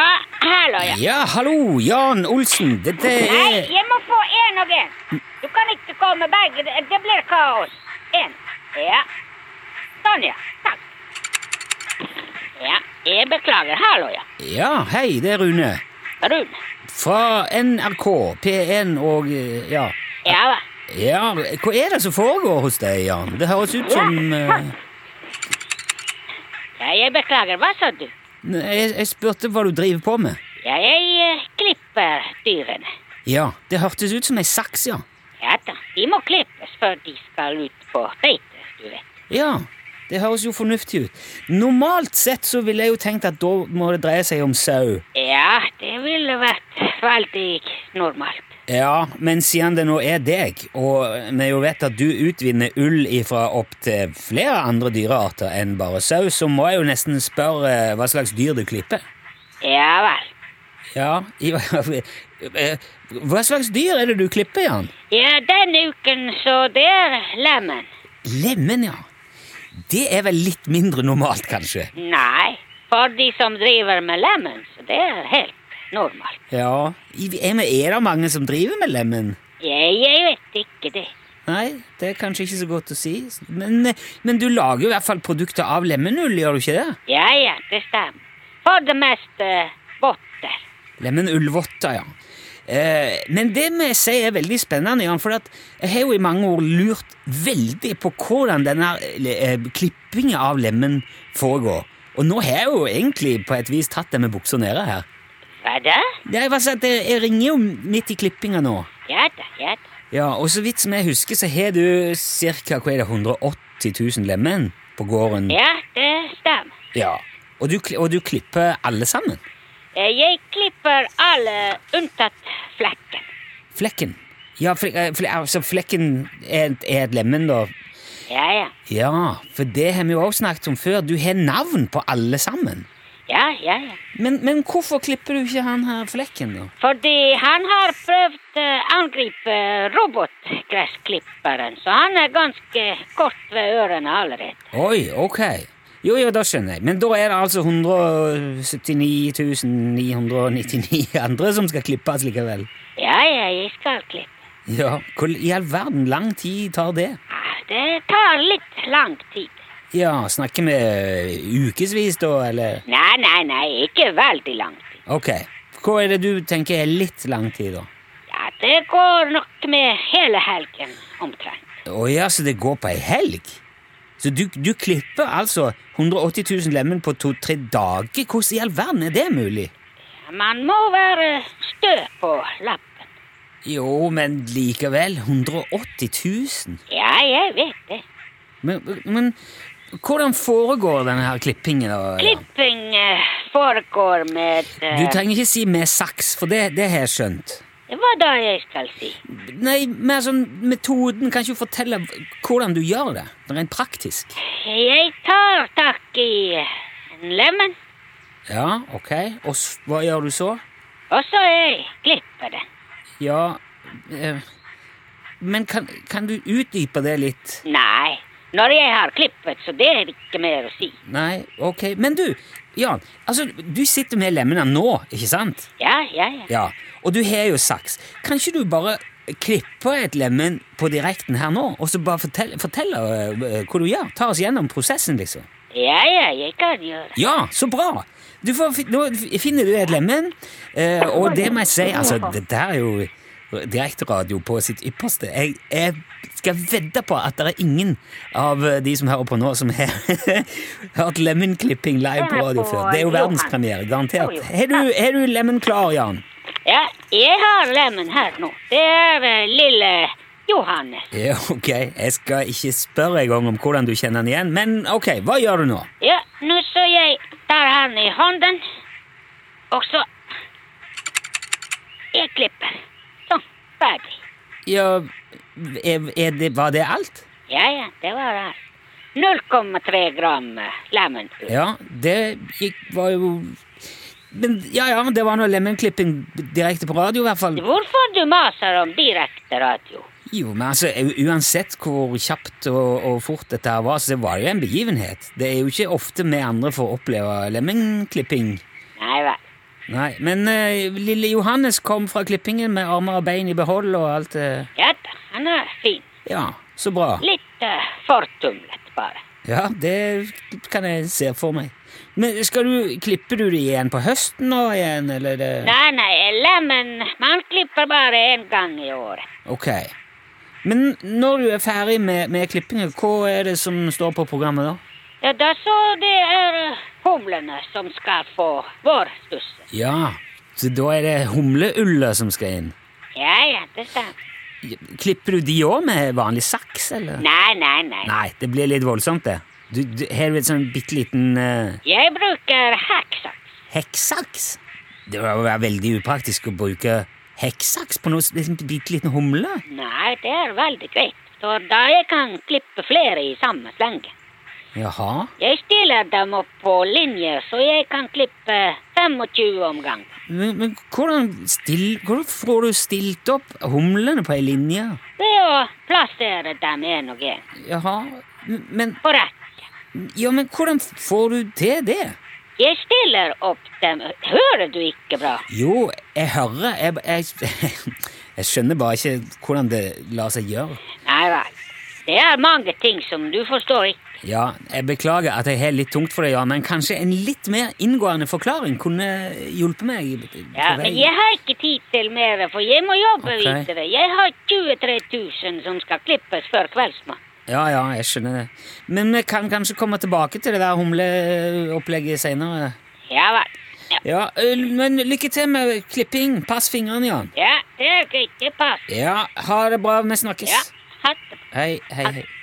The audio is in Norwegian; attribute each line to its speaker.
Speaker 1: her, Løye.
Speaker 2: Ja, hallo, Jan Olsen. Dette
Speaker 1: Nei,
Speaker 2: er
Speaker 1: jeg må få én og én. Du kan ikke komme begge. Det det blir kaos. Én. Ja. Sånn, ja. Takk. Ja, jeg beklager. Hallo, ja.
Speaker 2: Ja, hei, det er Rune.
Speaker 1: Rune.
Speaker 2: Fra NRK, P1 og eh, Ja.
Speaker 1: Ja, hva?
Speaker 2: Ja, hva er det som foregår hos deg, Jan? Det høres ut som eh,
Speaker 1: ja, jeg beklager. Hva sa du?
Speaker 2: ne, jeg, jeg spurte hva du driver på med.
Speaker 1: Ja, jeg eh, klipper dyrene.
Speaker 2: Ja, det hørtes ut som ei saks, ja.
Speaker 1: Ja da, de må klippes før de skal ut på beite, du vet.
Speaker 2: Ja, det høres jo fornuftig ut. Normalt sett så ville jeg jo tenkt at da må det dreie seg om sau.
Speaker 1: Ja, det ville vært veldig normalt.
Speaker 2: Ja, men siden det nå er deg, og vi jo vet at du utvinner ull ifra opptil flere andre dyrearter enn bare sau, så må jeg jo nesten spørre eh, hva slags dyr du klipper.
Speaker 1: Ja vel.
Speaker 2: Ja, i, eh, Hva slags dyr er det du klipper, Jan?
Speaker 1: Ja, denne uken så det er lemen.
Speaker 2: Lemen, ja. Det er vel litt mindre normalt, kanskje?
Speaker 1: Nei, for de som driver med lemen, så det er helt normalt.
Speaker 2: Ja. i- Er, vi- er det mange som driver med lemen?
Speaker 1: Jeg, jeg vet ikke det.
Speaker 2: Nei, det er kanskje ikke så godt å si. Men, eh, men du lager jo i hvert fall produkter av lemenull, gjør du ikke det?
Speaker 1: Ja, ja, det stemmer. For det meste votter.
Speaker 2: Lemenullvotter, ja. Eh, men det må jeg si er veldig spennende, Jan, for at jeg har jo i mange år lurt veldig på hvordan denne eh, klippingen av lemen foregår. Og nå har jeg jo egentlig på et vis tatt det med buksa nede her.
Speaker 1: Hva da?
Speaker 2: Jeg, bare si at jeg, jeg ringer jo midt i klippinga nå.
Speaker 1: Ja da, ja da.
Speaker 2: Ja, Og så vidt som jeg husker, så har du ca. 180 000 lemen på gården.
Speaker 1: Ja, det stemmer.
Speaker 2: Ja. Og du, kli- og du klipper alle sammen?
Speaker 1: Eh, Jeg klipper alle unntatt flekken.
Speaker 2: Flekken. Ja, fle, eh, fle, altså flekken er, er et lemen, da.
Speaker 1: Ja, ja.
Speaker 2: Ja, for det har vi jo også snakket om før. Du har navn på alle sammen.
Speaker 1: Ja, ja, ja.
Speaker 2: Men, men hvorfor klipper du ikke han her flekken, da?
Speaker 1: Fordi han har prøvd å angripe robotgressklipperen, så han er ganske kort ved ørene allerede.
Speaker 2: Oi, ok. Jo, jo, da skjønner jeg. Men da er det altså 179 999 andre som skal klippes likevel.
Speaker 1: Ja, ja, jeg skal klippe.
Speaker 2: Ja, hvor i all verden lang tid tar det?
Speaker 1: Ah, Det tar litt lang tid.
Speaker 2: Ja, snakker vi ukevis da, eller?
Speaker 1: Nei, nei, nei, ikke veldig lang tid.
Speaker 2: Ok. Hva er det du tenker er litt lang tid, da?
Speaker 1: Ja, det går nok med hele helgen omtrent.
Speaker 2: Å ja, så det går på ei helg? Så du, du klipper altså 180 000 lemen på to-tre dager? Hvordan i all verden er det mulig?
Speaker 1: Man må være stø på lappen.
Speaker 2: Jo, men likevel. 180 000?
Speaker 1: Ja, jeg vet det.
Speaker 2: Men, men hvordan foregår denne her klippingen? da? Jan?
Speaker 1: Klipping eh, foregår med
Speaker 2: Du
Speaker 1: eh,
Speaker 2: trenger ikke si med saks, for det, det har jeg skjønt.
Speaker 1: Hva da jeg skal si?
Speaker 2: Nei, mer sånn metoden. Kan ikke du fortelle hvordan du gjør det? Rent praktisk.
Speaker 1: Jeg tar tak i en lemen,
Speaker 2: Ja, ok. Og s- hva gjør du så?
Speaker 1: og så jeg klipper den.
Speaker 2: Ja eh, Men kan, kan du utdype det litt?
Speaker 1: Nei, når jeg har klippet, så det er ikke mer å si.
Speaker 2: Nei, ok. Men du, Jan. Altså, du sitter med lemmene nå, ikke sant?
Speaker 1: Ja, ja, ja.
Speaker 2: Ja. Og du har jo saks. Kan ikke du bare klippe et lemen på direkten her nå, og så bare fortelle, fortelle eh, hva du gjør? Ta oss gjennom prosessen, liksom.
Speaker 1: Ja, ja, jeg kan gjøre.
Speaker 2: Ja, så bra! Du får, fi- nå f- finner du et lemen, eh, og det må jeg si Altså, det der er jo direkteradio på sitt ypperste. Jeg, jeg skal vedde på at det er ingen av eh, de som hører på nå, som har hørt lemenklipping live på radio før. Det er jo verdenspremiere, garantert. Har du, har du lemen klar, Jan?
Speaker 1: Ja, jeg har lemen her nå. Det er eh, lille Johannes.
Speaker 2: Ja, ok. Jeg skal ikke spørre engang om hvordan du kjenner den igjen, men ok, hva gjør du nå?
Speaker 1: Ja, nå så jeg tar han i hånden, og så Jeg klipper. Sånn, ferdig.
Speaker 2: Ja, er, er det, var det alt?
Speaker 1: Ja, ja, det var alt. 0,3 gram eh, lemen.
Speaker 2: Ja, det gikk, var jo Men ja, ja, det var noe lemenklipping direkte på radio, i hvert fall.
Speaker 1: Hvorfor du maser om direkte radio?
Speaker 2: Jo, men altså, u- uansett hvor kjapt og, og fort dette her var, så var det jo en begivenhet. Det er jo ikke ofte vi andre får oppleve lemenklipping.
Speaker 1: Nei vel.
Speaker 2: Nei, Men eh, lille Johannes kom fra klippingen med armer og bein i behold og alt eh,
Speaker 1: Ja da, han er fin.
Speaker 2: Ja, så bra.
Speaker 1: Litt eh, fortumlet, bare.
Speaker 2: Ja, det kan jeg se for meg. Men skal du, Klipper du det igjen på høsten nå igjen, eller? Det?
Speaker 1: Nei, nei, lemen Man klipper bare én gang i året.
Speaker 2: Ok. Men når du er ferdig med, med klippingen, hva er det som står på programmet da?
Speaker 1: Ja, da så det er eh, humlene som skal få vårstussen.
Speaker 2: Ja, så da er det humleulla som skal inn.
Speaker 1: Ja, ja, det stemmer.
Speaker 2: Klipper du de òg med vanlig saks, eller?
Speaker 1: Nei, nei, nei.
Speaker 2: Nei, det blir litt voldsomt, det. Du, du, har du et sånn bitte liten eh,
Speaker 1: Jeg bruker hekksaks.
Speaker 2: hekksaks? Det vil være veldig upraktisk å bruke hekksaks på noe liksom, bitte liten humle.
Speaker 1: Nei, det er veldig greit, for da jeg kan klippe flere i samme slenge.
Speaker 2: Jaha.
Speaker 1: Jeg stiller dem opp på linje, så jeg kan klippe 25 om gangen.
Speaker 2: Men, men hvordan, still, hvordan får du stilt opp humlene på ei linje?
Speaker 1: Ved å plassere dem en og en
Speaker 2: Jaha. Men, men
Speaker 1: på rekke.
Speaker 2: Ja, men hvordan får du til det?
Speaker 1: Jeg stiller opp dem Hører du ikke bra?
Speaker 2: Jo, jeg hører Jeg, jeg, jeg skjønner bare ikke hvordan det lar seg gjøre.
Speaker 1: Nei vel. Det er mange ting som du forstår ikke.
Speaker 2: Ja, jeg beklager at jeg har litt tungt for det, ja, men kanskje en litt mer inngående forklaring kunne hjulpet meg? på
Speaker 1: Ja,
Speaker 2: vei?
Speaker 1: men jeg har ikke tid til mer, for jeg må jobbe
Speaker 2: Ok.
Speaker 1: videre. Jeg har 23 000 som skal klippes før kveldsmat.
Speaker 2: ja, ja, jeg skjønner det. Men vi kan kanskje komme tilbake til det der humleopplegget seinere.
Speaker 1: Ja vel. Ja,
Speaker 2: Ja, ø, men lykke til med klipping. Pass fingrene, Jan.
Speaker 1: ja det er greit. Det passer.
Speaker 2: Ja, ha det bra. Vi snakkes.
Speaker 1: Ja, ha det.
Speaker 2: Hei, hei, hei.